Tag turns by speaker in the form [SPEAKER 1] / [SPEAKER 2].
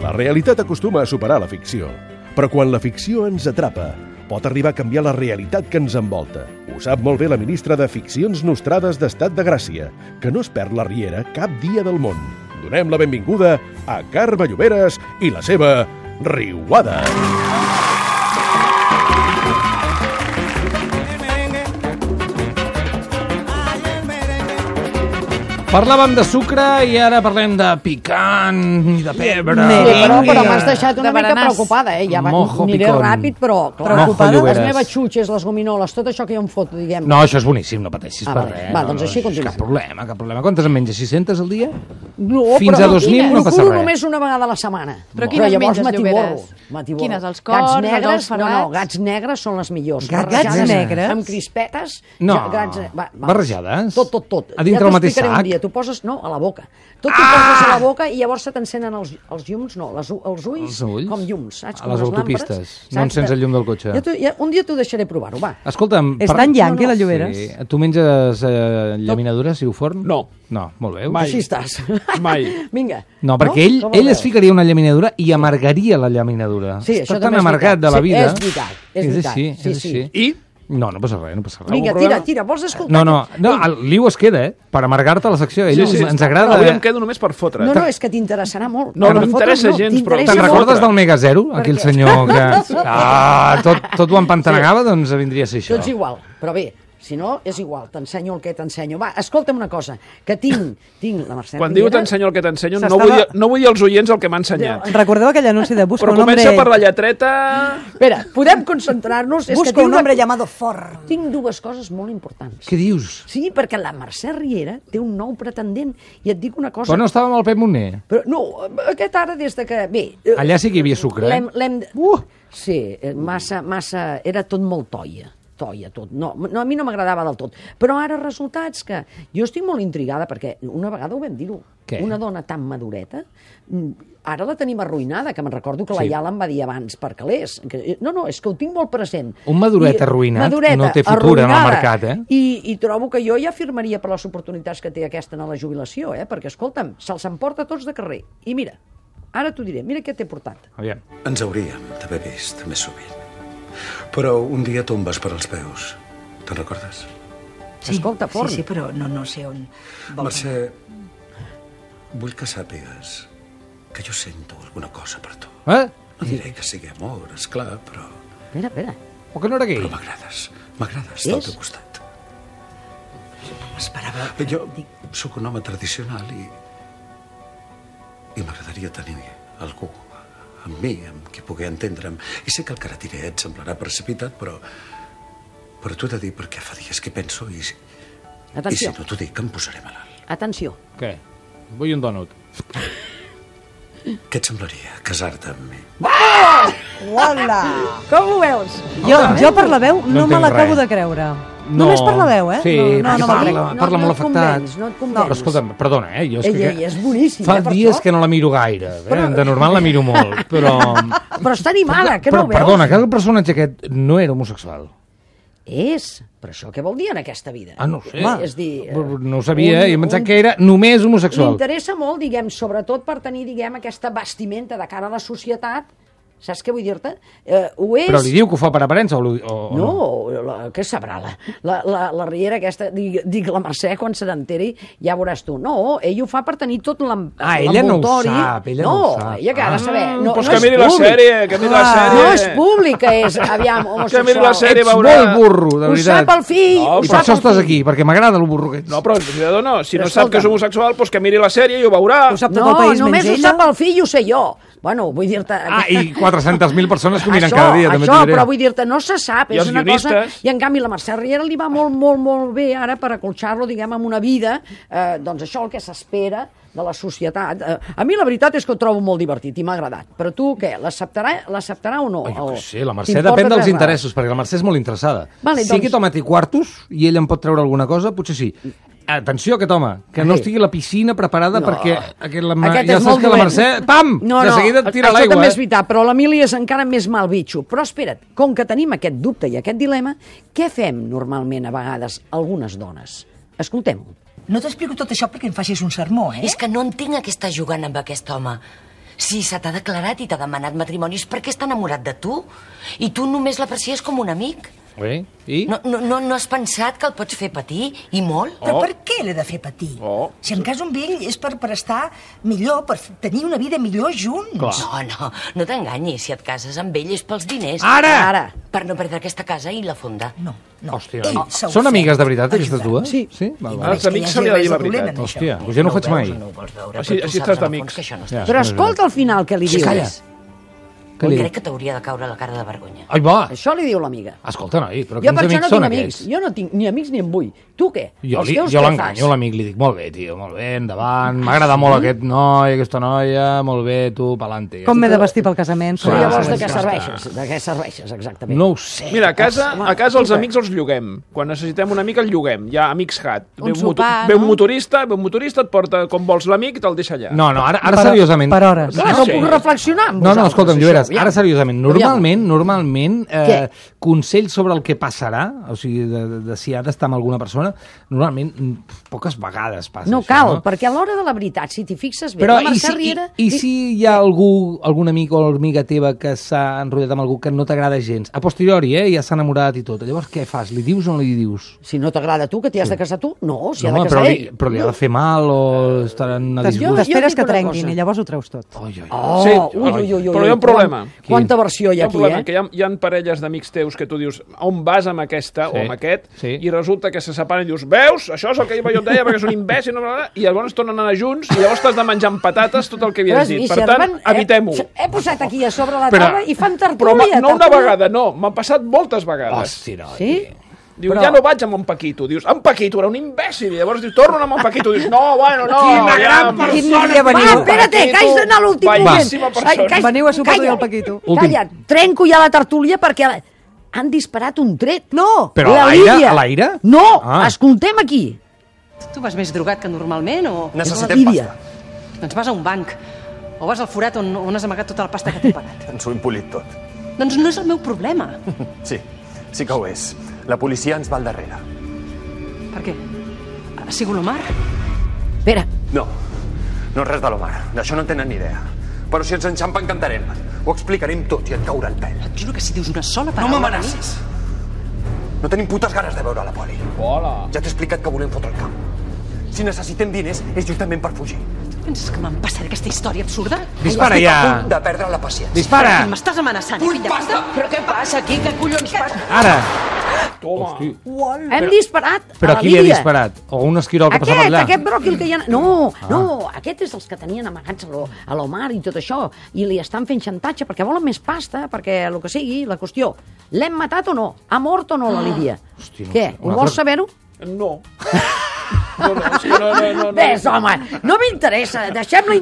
[SPEAKER 1] La realitat acostuma a superar la ficció, però quan la ficció ens atrapa, pot arribar a canviar la realitat que ens envolta. Ho sap molt bé la ministra de Ficcions Nostrades d'Estat de Gràcia, que no es perd la riera cap dia del món. Donem la benvinguda a Carme Lloberes i la seva Riuada.
[SPEAKER 2] Parlàvem de sucre i ara parlem de picant i de pebre.
[SPEAKER 3] Sí, però, però
[SPEAKER 2] I de-
[SPEAKER 3] m'has deixat una
[SPEAKER 4] De
[SPEAKER 3] mica
[SPEAKER 4] berenars.
[SPEAKER 3] preocupada, eh? Ja va,
[SPEAKER 2] Mojo
[SPEAKER 3] aniré
[SPEAKER 2] picón.
[SPEAKER 3] ràpid, però clar,
[SPEAKER 2] Mojo
[SPEAKER 3] preocupada. Les
[SPEAKER 2] Lloberes.
[SPEAKER 3] meves xutxes, les gominoles, tot això que jo em foto, diguem.
[SPEAKER 2] No, això és boníssim, no pateixis
[SPEAKER 3] Ah,
[SPEAKER 2] per
[SPEAKER 3] vale.
[SPEAKER 2] res.
[SPEAKER 3] Va,
[SPEAKER 2] no,
[SPEAKER 3] doncs
[SPEAKER 2] no,
[SPEAKER 3] així
[SPEAKER 2] és
[SPEAKER 3] continuem.
[SPEAKER 2] Cap problema, cap problema. Quantes en menges? 600 al dia?
[SPEAKER 3] no
[SPEAKER 2] fins
[SPEAKER 3] però
[SPEAKER 2] a 2000 no passa
[SPEAKER 3] Procuro
[SPEAKER 2] res.
[SPEAKER 3] només una vegada a la setmana.
[SPEAKER 4] Però quines
[SPEAKER 3] llavors
[SPEAKER 4] menges,
[SPEAKER 3] m'atiborro,
[SPEAKER 4] Lloberes?
[SPEAKER 3] m'atiborro.
[SPEAKER 4] Quines, els
[SPEAKER 3] gats
[SPEAKER 4] cors, els
[SPEAKER 3] negres,
[SPEAKER 4] ous
[SPEAKER 3] no, no,
[SPEAKER 4] ferrats?
[SPEAKER 3] gats negres són les millors.
[SPEAKER 5] Gats
[SPEAKER 3] Barrejades
[SPEAKER 5] negres?
[SPEAKER 3] Amb crispetes.
[SPEAKER 2] No,
[SPEAKER 3] ja- eh, va.
[SPEAKER 2] barrejades?
[SPEAKER 3] Tot, tot, tot.
[SPEAKER 2] A dintre
[SPEAKER 3] ja
[SPEAKER 2] el mateix
[SPEAKER 3] t'ho explicaré
[SPEAKER 2] sac? Ah!
[SPEAKER 3] Un dia. Tu poses, no, a la boca. Tot t'ho poses a la boca i llavors se t'encenen els, els llums, no, les, u- els ulls,
[SPEAKER 2] Els ulls?
[SPEAKER 3] com llums, saps?
[SPEAKER 2] A
[SPEAKER 3] Com
[SPEAKER 2] les
[SPEAKER 3] làmpades,
[SPEAKER 2] autopistes.
[SPEAKER 3] saps?
[SPEAKER 2] No encens
[SPEAKER 3] De-
[SPEAKER 2] el llum del cotxe.
[SPEAKER 3] Ja t'ho- ja, un dia t'ho deixaré provar-ho, va.
[SPEAKER 2] Escolta'm...
[SPEAKER 5] És tan
[SPEAKER 3] eh,
[SPEAKER 5] llanqui, la Lloberes?
[SPEAKER 2] Sí. Tu menges eh, llaminadures i ho forn?
[SPEAKER 6] No.
[SPEAKER 2] No, molt bé.
[SPEAKER 6] Mai.
[SPEAKER 3] Així estàs.
[SPEAKER 6] Mai.
[SPEAKER 3] Vinga.
[SPEAKER 2] No, perquè ell,
[SPEAKER 3] Com el
[SPEAKER 2] ell es
[SPEAKER 3] veus?
[SPEAKER 2] ficaria una llaminadura i amargaria la llaminadura.
[SPEAKER 3] Sí,
[SPEAKER 2] Està tan
[SPEAKER 3] això també és
[SPEAKER 2] amargat
[SPEAKER 3] veritat.
[SPEAKER 2] de la
[SPEAKER 3] Sí,
[SPEAKER 2] vida.
[SPEAKER 3] és veritat, és veritat.
[SPEAKER 2] així,
[SPEAKER 3] Sí,
[SPEAKER 2] és
[SPEAKER 3] sí.
[SPEAKER 2] així.
[SPEAKER 6] I
[SPEAKER 2] No, no passa res, no passa res.
[SPEAKER 3] Vinga,
[SPEAKER 6] Algun
[SPEAKER 3] tira,
[SPEAKER 6] problema?
[SPEAKER 3] tira, vols escoltar?
[SPEAKER 2] No, no, no el Liu es queda, eh? Per amargar-te la secció. Ell ens, ens agrada... eh?
[SPEAKER 6] Avui em quedo només per fotre.
[SPEAKER 3] eh? No, no, és que t'interessarà molt.
[SPEAKER 6] No, no
[SPEAKER 3] Fotos
[SPEAKER 6] m'interessa gens, però-
[SPEAKER 3] t'interessa
[SPEAKER 2] Te'n
[SPEAKER 6] Deixa
[SPEAKER 3] molt.
[SPEAKER 2] recordes
[SPEAKER 6] fotre.
[SPEAKER 2] del Mega Zero? Aquell
[SPEAKER 3] què?
[SPEAKER 2] senyor que... Ah, tot, tot ho empantanegava, doncs vindria a ser això.
[SPEAKER 3] Tots igual, però bé, si no, és igual, t'ensenyo el que t'ensenyo. Va, escolta'm una cosa, que tinc, tinc la Mercè
[SPEAKER 6] Quan diu
[SPEAKER 3] Riera.
[SPEAKER 6] t'ensenyo el que t'ensenyo, no,
[SPEAKER 5] S'estava-
[SPEAKER 6] vull dir, no vull dir als oients el que m'ha ensenyat.
[SPEAKER 5] Recordeu aquell anunci de Busca
[SPEAKER 6] Però
[SPEAKER 5] un hombre...
[SPEAKER 6] comença per la lletreta...
[SPEAKER 3] Espera, podem concentrar-nos? És que
[SPEAKER 5] Busca
[SPEAKER 3] tinc
[SPEAKER 5] un
[SPEAKER 3] una-
[SPEAKER 5] hombre llamado Ford.
[SPEAKER 3] Tinc dues coses molt importants.
[SPEAKER 2] Què dius?
[SPEAKER 3] Sí, perquè la Mercè Riera té un nou pretendent, i et dic una cosa...
[SPEAKER 2] Però no estava amb el Pep Moner.
[SPEAKER 3] Però, no, aquest ara des de que... Bé, eh,
[SPEAKER 2] Allà sí que hi havia sucre, eh?
[SPEAKER 3] L'hem... l'hem...
[SPEAKER 2] Uh!
[SPEAKER 3] Sí, eh, massa, massa... Era tot molt toia toia tot. No, no a mi no m'agradava del tot. Però ara resultats que... Jo estic molt intrigada perquè una vegada ho vam dir-ho.
[SPEAKER 2] Què?
[SPEAKER 3] Una dona tan madureta, mm, ara la tenim arruïnada, que me'n recordo que la
[SPEAKER 2] Sí.
[SPEAKER 3] sí. Iala em va dir abans per calés. Que, eh, no, no, és que ho tinc molt present.
[SPEAKER 2] Un maduret
[SPEAKER 3] I-
[SPEAKER 2] arruïnat
[SPEAKER 3] madureta,
[SPEAKER 2] no té futur en el
[SPEAKER 3] arruïnada.
[SPEAKER 2] mercat, eh?
[SPEAKER 3] I, I trobo que jo ja firmaria per les oportunitats que té aquesta en la jubilació, eh? perquè, escolta'm, se'ls emporta tots de carrer. I mira, ara t'ho diré, mira què t'he portat.
[SPEAKER 2] Aviam.
[SPEAKER 7] Ens hauríem d'haver vist més sovint. Però un dia tombes per als peus. Te'n recordes?
[SPEAKER 3] Sí, Escolta, Forn.
[SPEAKER 8] Sí, sí, però no, no sé on... vol
[SPEAKER 7] Mercè, vull que sàpigues que jo sento alguna cosa per tu.
[SPEAKER 2] Eh?
[SPEAKER 7] No diré que sigui amor, esclar, però,
[SPEAKER 3] Espera, espera.
[SPEAKER 2] O que no era gay?
[SPEAKER 7] però m'agrades. M'agrades del
[SPEAKER 3] És?
[SPEAKER 7] teu costat.
[SPEAKER 8] Esperava...
[SPEAKER 7] Jo sóc un home tradicional i... i m'agradaria tenir algú amb mi, amb qui pugui entendre'm. I sé que el caratiret semblarà precipitat, però... però t'ho he de dir perquè fa dies que penso i... si- I si
[SPEAKER 3] Atenció,
[SPEAKER 7] no t'ho dic, em posaré malalt.
[SPEAKER 3] atenció.
[SPEAKER 2] Què? Vull un donut.
[SPEAKER 7] Què et semblaria casar-te amb mi?
[SPEAKER 5] Uala!
[SPEAKER 3] Com ho veus?
[SPEAKER 5] Jo, jo per la veu no,
[SPEAKER 2] No
[SPEAKER 5] me
[SPEAKER 2] entenc
[SPEAKER 5] l'acabo
[SPEAKER 2] res.
[SPEAKER 5] de creure. Només per la veu, eh?
[SPEAKER 2] Sí,
[SPEAKER 5] no, no,
[SPEAKER 2] perquè
[SPEAKER 5] no,
[SPEAKER 2] parla,
[SPEAKER 5] no,
[SPEAKER 3] no,
[SPEAKER 2] parla
[SPEAKER 3] no
[SPEAKER 2] molt
[SPEAKER 3] et
[SPEAKER 2] afectat.
[SPEAKER 3] convenç, no et
[SPEAKER 2] no,
[SPEAKER 3] convenç.
[SPEAKER 2] però escolta'm, perdona, eh? Jo és
[SPEAKER 3] Ella,
[SPEAKER 2] que,
[SPEAKER 3] ella és boníssima,
[SPEAKER 2] Fa
[SPEAKER 3] eh, per
[SPEAKER 2] dies
[SPEAKER 3] això.
[SPEAKER 2] que no la miro gaire. Eh?
[SPEAKER 3] Però-
[SPEAKER 2] De normal la miro molt, però...
[SPEAKER 3] Ah, Però està animada, que
[SPEAKER 2] però,
[SPEAKER 3] no ho veus?
[SPEAKER 2] Perdona, que el personatge aquest no era homosexual.
[SPEAKER 3] És, però això què vol dir en aquesta vida?
[SPEAKER 2] Ah, no ho sé.
[SPEAKER 3] És dir... eh,
[SPEAKER 2] no ho sabia,
[SPEAKER 3] un-
[SPEAKER 2] i em pensava
[SPEAKER 3] un-
[SPEAKER 2] que era només homosexual.
[SPEAKER 3] M'interessa molt, diguem, sobretot per tenir, diguem, aquesta vestimenta de cara a la societat, saps què vull dir-te? Eh, ho és...
[SPEAKER 2] Però li diu que ho fa per aparença o, lo- o, o
[SPEAKER 3] No, la, què sabrà la, la, la, la Riera aquesta? Dic, dic la Mercè, quan se n'enteri, ja veuràs tu. No, ell ho fa per tenir tot l'em-
[SPEAKER 2] Ah, ella no ho
[SPEAKER 3] l'envoltori.
[SPEAKER 2] sap, ella
[SPEAKER 3] no,
[SPEAKER 2] no ho sap. Ah,
[SPEAKER 3] ella que ha de saber.
[SPEAKER 6] Mm,
[SPEAKER 3] No,
[SPEAKER 6] doncs
[SPEAKER 3] no
[SPEAKER 6] que
[SPEAKER 3] és
[SPEAKER 6] miri la
[SPEAKER 3] públic.
[SPEAKER 6] sèrie, que miri la sèrie.
[SPEAKER 3] Ah, No és públic, que és, aviam, homosexual.
[SPEAKER 6] miri la sèrie,
[SPEAKER 2] Ets
[SPEAKER 6] veurà-
[SPEAKER 2] molt burro, de
[SPEAKER 3] Ho
[SPEAKER 2] veritat.
[SPEAKER 3] sap el fill,
[SPEAKER 6] No,
[SPEAKER 3] ho
[SPEAKER 2] I per
[SPEAKER 3] sap
[SPEAKER 2] això
[SPEAKER 3] el
[SPEAKER 2] estàs
[SPEAKER 3] fill.
[SPEAKER 2] aquí, perquè m'agrada el burro que ets.
[SPEAKER 6] No, però cuidador no. Si
[SPEAKER 3] Però
[SPEAKER 6] no sap que és
[SPEAKER 3] escolta'm.
[SPEAKER 6] homosexual, doncs que miri la sèrie i ho veurà.
[SPEAKER 5] Ho sap tot
[SPEAKER 3] No,
[SPEAKER 5] el país
[SPEAKER 3] només
[SPEAKER 5] menys
[SPEAKER 3] ho
[SPEAKER 5] ella.
[SPEAKER 3] sap el fill i ho sé jo. Bueno, vull dir-te...
[SPEAKER 2] Ah, i 400.000 persones que ho miren cada dia, també
[SPEAKER 3] això,
[SPEAKER 2] t'ho diré.
[SPEAKER 3] però vull dir-te, no se sap,
[SPEAKER 6] I
[SPEAKER 3] és
[SPEAKER 6] els
[SPEAKER 3] una
[SPEAKER 6] guionistes.
[SPEAKER 3] cosa... I en canvi la Mercè Riera li va molt, molt, molt bé ara per acolxar-lo, diguem, amb una vida, eh, doncs això el que s'espera de la societat. Eh, a mi la veritat és que ho trobo molt divertit i m'ha agradat. Però tu què, l'acceptarà l'acceptarà o no?
[SPEAKER 2] Oh, jo
[SPEAKER 3] O
[SPEAKER 2] què sé, la Mercè
[SPEAKER 3] t'importa
[SPEAKER 2] depèn dels
[SPEAKER 3] tres
[SPEAKER 2] interessos, perquè la Mercè és molt interessada.
[SPEAKER 3] Vale,
[SPEAKER 2] si
[SPEAKER 3] doncs-
[SPEAKER 2] aquest home té quartos i ell em pot treure alguna cosa, potser sí. Atenció a aquest home, que no
[SPEAKER 3] Sí.
[SPEAKER 2] estigui la piscina preparada
[SPEAKER 3] No.
[SPEAKER 2] perquè aquest, la,
[SPEAKER 3] Ah. Aquest
[SPEAKER 2] ja
[SPEAKER 3] és
[SPEAKER 2] saps
[SPEAKER 3] molt
[SPEAKER 2] que la
[SPEAKER 3] dolent.
[SPEAKER 2] Mercè, pam, de seguida et tira
[SPEAKER 3] això
[SPEAKER 2] l'aigua.
[SPEAKER 3] també
[SPEAKER 2] eh?
[SPEAKER 3] és veritat, però l'Emili és encara més mal bitxo. Però espera't, com que tenim aquest dubte i aquest dilema, què fem normalment a vegades algunes dones? Escoltem-ho.
[SPEAKER 8] No t'explico tot això perquè em facis un sermó, eh?
[SPEAKER 9] És que no entenc a què està jugant amb aquest home.
[SPEAKER 8] Si se t'ha declarat i t'ha demanat matrimoni és perquè està enamorat de tu i tu només l'aprecies com un amic.
[SPEAKER 2] Bé, i?
[SPEAKER 8] No, no, no, no has pensat que el pots fer patir? I molt?
[SPEAKER 6] Oh.
[SPEAKER 4] Però per què l'he de fer patir?
[SPEAKER 6] Oh.
[SPEAKER 4] Si em caso amb ell és per, per estar millor, per f- tenir una vida millor junts.
[SPEAKER 2] Clar.
[SPEAKER 8] No, no, no t'enganyis. Si et cases amb ell és pels diners.
[SPEAKER 2] Ara!
[SPEAKER 3] Ara.
[SPEAKER 8] Per no perdre aquesta casa i la fonda.
[SPEAKER 4] No, no.
[SPEAKER 2] Hòstia.
[SPEAKER 4] Ell s'ha ofert
[SPEAKER 2] Són amigues de veritat, aquestes
[SPEAKER 4] ajudar.
[SPEAKER 2] dues? Sí. Sí? Val,
[SPEAKER 4] I
[SPEAKER 2] val.
[SPEAKER 4] veig que
[SPEAKER 6] amics
[SPEAKER 4] hi ha
[SPEAKER 6] se li ha de
[SPEAKER 4] res
[SPEAKER 6] dir la
[SPEAKER 4] dolent
[SPEAKER 6] veritat.
[SPEAKER 4] en això.
[SPEAKER 2] Hòstia, jo no ho
[SPEAKER 8] ho
[SPEAKER 2] faig
[SPEAKER 8] veus
[SPEAKER 2] mai. Ah,
[SPEAKER 8] o No ho vols veure,
[SPEAKER 6] Així-
[SPEAKER 8] però tu
[SPEAKER 6] així estàs
[SPEAKER 8] saps en el fons
[SPEAKER 6] d'amics.
[SPEAKER 8] que això no
[SPEAKER 2] Ja.
[SPEAKER 8] està.
[SPEAKER 3] Però escolta al final què li
[SPEAKER 2] Sí,
[SPEAKER 3] dius.
[SPEAKER 2] calla. Què li dic?
[SPEAKER 8] Crec que t'hauria de caure la cara de vergonya.
[SPEAKER 2] Ai, va!
[SPEAKER 3] Això li diu l'amiga.
[SPEAKER 2] Escolta, noi, però
[SPEAKER 3] Jo
[SPEAKER 2] quins
[SPEAKER 3] per això
[SPEAKER 2] amics
[SPEAKER 3] no
[SPEAKER 2] són
[SPEAKER 3] tinc amics.
[SPEAKER 2] aquests?
[SPEAKER 3] Jo no tinc ni amics ni en vull. Tu què?
[SPEAKER 2] Jo,
[SPEAKER 3] Els
[SPEAKER 2] li,
[SPEAKER 3] teus
[SPEAKER 2] jo
[SPEAKER 3] què
[SPEAKER 2] l'enganyo,
[SPEAKER 3] fas?
[SPEAKER 2] l'amic, li dic, molt bé, tio, molt bé, endavant, m'agrada molt aquest noi, aquesta noia, molt bé, tu, pa'lante.
[SPEAKER 5] Com m'he de vestir pel casament?
[SPEAKER 3] Però
[SPEAKER 2] Clar,
[SPEAKER 3] llavors de
[SPEAKER 2] Ah, sí,
[SPEAKER 3] què
[SPEAKER 2] sí,
[SPEAKER 3] serveixes? De què serveixes, exactament?
[SPEAKER 2] No ho sé.
[SPEAKER 6] Mira, a casa,
[SPEAKER 3] Home,
[SPEAKER 6] a casa els
[SPEAKER 3] escolta.
[SPEAKER 6] amics els lloguem. Quan necessitem un amic el lloguem. Hi ha amics hat.
[SPEAKER 5] Un
[SPEAKER 6] Ve moto-
[SPEAKER 5] sopar,
[SPEAKER 6] ve un
[SPEAKER 5] no?
[SPEAKER 6] motorista, ve un motorista, et porta com vols l'amic i te'l deixa allà.
[SPEAKER 2] No, no, ara, ara
[SPEAKER 5] Per-
[SPEAKER 2] seriosament...
[SPEAKER 5] per hores.
[SPEAKER 3] Clar,
[SPEAKER 6] Ah,
[SPEAKER 3] no
[SPEAKER 6] sí.
[SPEAKER 3] puc reflexionar amb
[SPEAKER 2] No, no,
[SPEAKER 3] vosaltres,
[SPEAKER 2] escolta'm,
[SPEAKER 3] això,
[SPEAKER 2] Lloberes,
[SPEAKER 3] aviam.
[SPEAKER 2] ara seriosament, normalment, normalment, eh,
[SPEAKER 3] Què?
[SPEAKER 2] consell sobre el que passarà, o sigui, de, de, de si ha d'estar amb alguna persona, normalment mm, poques vegades passa
[SPEAKER 3] No
[SPEAKER 2] això,
[SPEAKER 3] cal,
[SPEAKER 2] no?
[SPEAKER 3] perquè a l'hora de la veritat, si t'hi fixes bé,
[SPEAKER 2] Però
[SPEAKER 3] la
[SPEAKER 2] i
[SPEAKER 3] Mercè
[SPEAKER 2] si, i,
[SPEAKER 3] Riera...
[SPEAKER 2] i si hi ha algú, algun amic o amiga teva que s'ha enrotllat amb algú que no t'agrada gens, a posteriori, eh, ja s'ha enamorat i tot, llavors què fas? Li dius o no li dius?
[SPEAKER 3] Si no t'agrada tu, que t'hi has de casar tu? No, si
[SPEAKER 2] no,
[SPEAKER 3] ha de
[SPEAKER 2] però,
[SPEAKER 3] casar
[SPEAKER 2] li,
[SPEAKER 3] ell.
[SPEAKER 2] però li ha de fer mal o estaran a
[SPEAKER 5] T'es-
[SPEAKER 3] Jo-
[SPEAKER 2] disgust?
[SPEAKER 5] T'esperes
[SPEAKER 3] dic
[SPEAKER 5] que
[SPEAKER 3] una
[SPEAKER 5] trenquin
[SPEAKER 3] cosa.
[SPEAKER 5] i llavors ho treus tot.
[SPEAKER 2] Oi, oi, oi.
[SPEAKER 3] Oh,
[SPEAKER 6] Sí,
[SPEAKER 3] ui, ui, ui, ui,
[SPEAKER 6] però hi ha un
[SPEAKER 3] quan-
[SPEAKER 6] problema.
[SPEAKER 3] Quanta versió hi ha
[SPEAKER 6] el
[SPEAKER 3] aquí,
[SPEAKER 6] problema,
[SPEAKER 3] eh?
[SPEAKER 6] que hi ha, hi ha parelles d'amics teus que tu dius on vas amb aquesta
[SPEAKER 2] Sí,
[SPEAKER 6] o amb aquest
[SPEAKER 2] sí.
[SPEAKER 6] i resulta que se separen i dius veus, això és el que jo et deia perquè és un imbècil no, bla, bla", i llavors tornen a anar junts i llavors t'has de menjar amb patates tot el que
[SPEAKER 3] Però
[SPEAKER 6] havies
[SPEAKER 3] has
[SPEAKER 6] dit.
[SPEAKER 3] vist,
[SPEAKER 6] Per tant,
[SPEAKER 3] Armand, he-
[SPEAKER 6] evitem-ho.
[SPEAKER 3] eh, He posat aquí a sobre la
[SPEAKER 2] Però-
[SPEAKER 3] taula i fan
[SPEAKER 6] Però ma-
[SPEAKER 3] tertúlia.
[SPEAKER 6] no una
[SPEAKER 3] tertúlia.
[SPEAKER 6] vegada, no. M'han passat moltes vegades.
[SPEAKER 2] Hosti, no.
[SPEAKER 3] Sí?
[SPEAKER 6] Diu, ja no vaig amb en Paquito. Dius, en Paquito era un imbècil. I llavors dius, torno a anar amb en Paquito. Dius, no, bueno, no.
[SPEAKER 2] Quina gran
[SPEAKER 6] aviam.
[SPEAKER 5] Quin dia
[SPEAKER 3] Va,
[SPEAKER 5] veniu?
[SPEAKER 3] Ah, espérate, que haig d'anar a l'últim moment.
[SPEAKER 6] Bellíssima persona.
[SPEAKER 3] que haig-
[SPEAKER 5] Veniu a sopar tu i
[SPEAKER 3] calla,
[SPEAKER 5] el Paquito.
[SPEAKER 2] Últim.
[SPEAKER 3] Calla, trenco ja la tertúlia perquè la- han disparat un tret.
[SPEAKER 5] No!
[SPEAKER 2] Però
[SPEAKER 3] La
[SPEAKER 2] a l'aire?
[SPEAKER 3] Lídia.
[SPEAKER 2] A l'aire?
[SPEAKER 3] No,
[SPEAKER 2] Ah.
[SPEAKER 3] escoltem aquí.
[SPEAKER 9] Tu vas més drogat que normalment o...
[SPEAKER 3] Necessitem la Lídia.
[SPEAKER 9] Doncs vas a un banc o vas al forat on, on has amagat tota la pasta que t'he pagat.
[SPEAKER 10] Ens ho hem polit tot.
[SPEAKER 9] doncs no és el meu problema.
[SPEAKER 10] Sí, sí que ho és. La policia ens va al darrere.
[SPEAKER 9] Per què? Ha sigut l'Omar?
[SPEAKER 3] Espera,
[SPEAKER 10] No, no res de l'Omar. D'això no en tenen ni idea. Però si ens enxampen, cantarem. Ho explicarem tot i et caurà el pèl.
[SPEAKER 9] Et juro que si dius una sola
[SPEAKER 10] No
[SPEAKER 9] paraula...
[SPEAKER 10] m'amenacis! No tenim putes ganes de veure la poli.
[SPEAKER 6] Hola.
[SPEAKER 10] Ja t'he explicat que volem fotre el camp. Si necessitem diners, és justament per fugir.
[SPEAKER 9] Tu penses que m'empassaré aquesta història absurda?
[SPEAKER 2] Dispara
[SPEAKER 10] Estic a punt
[SPEAKER 2] ja!
[SPEAKER 10] de perdre la paciència.
[SPEAKER 2] Dispara!
[SPEAKER 9] Em M'estàs amenaçant,
[SPEAKER 10] Ui,
[SPEAKER 9] filla
[SPEAKER 10] basta!
[SPEAKER 9] puta? Però què passa aquí? Què collons passa?
[SPEAKER 2] Ara!
[SPEAKER 6] Toma.
[SPEAKER 2] Hosti.
[SPEAKER 3] hem disparat
[SPEAKER 2] Però
[SPEAKER 3] a la
[SPEAKER 2] qui li ha
[SPEAKER 3] Lídia.
[SPEAKER 2] disparat? O un esquirol que passava
[SPEAKER 3] Aquest,
[SPEAKER 2] allà? Ah.
[SPEAKER 3] aquest bròquil que hi ha... No, no, aquest és els que tenien amagats a lo- a l'Omar i tot això, i li estan fent xantatge perquè volen més pasta, perquè el que sigui, la qüestió. L'hem matat o no? Ha mort o no la Lídia?
[SPEAKER 2] Hosti, Ah, no
[SPEAKER 3] Què?
[SPEAKER 2] sé. Una
[SPEAKER 3] Ho vols
[SPEAKER 2] altra-
[SPEAKER 3] saber-ho?
[SPEAKER 6] No. No, no, sí, no, no, no, no.
[SPEAKER 3] Ves, home, no m'interessa, deixem-la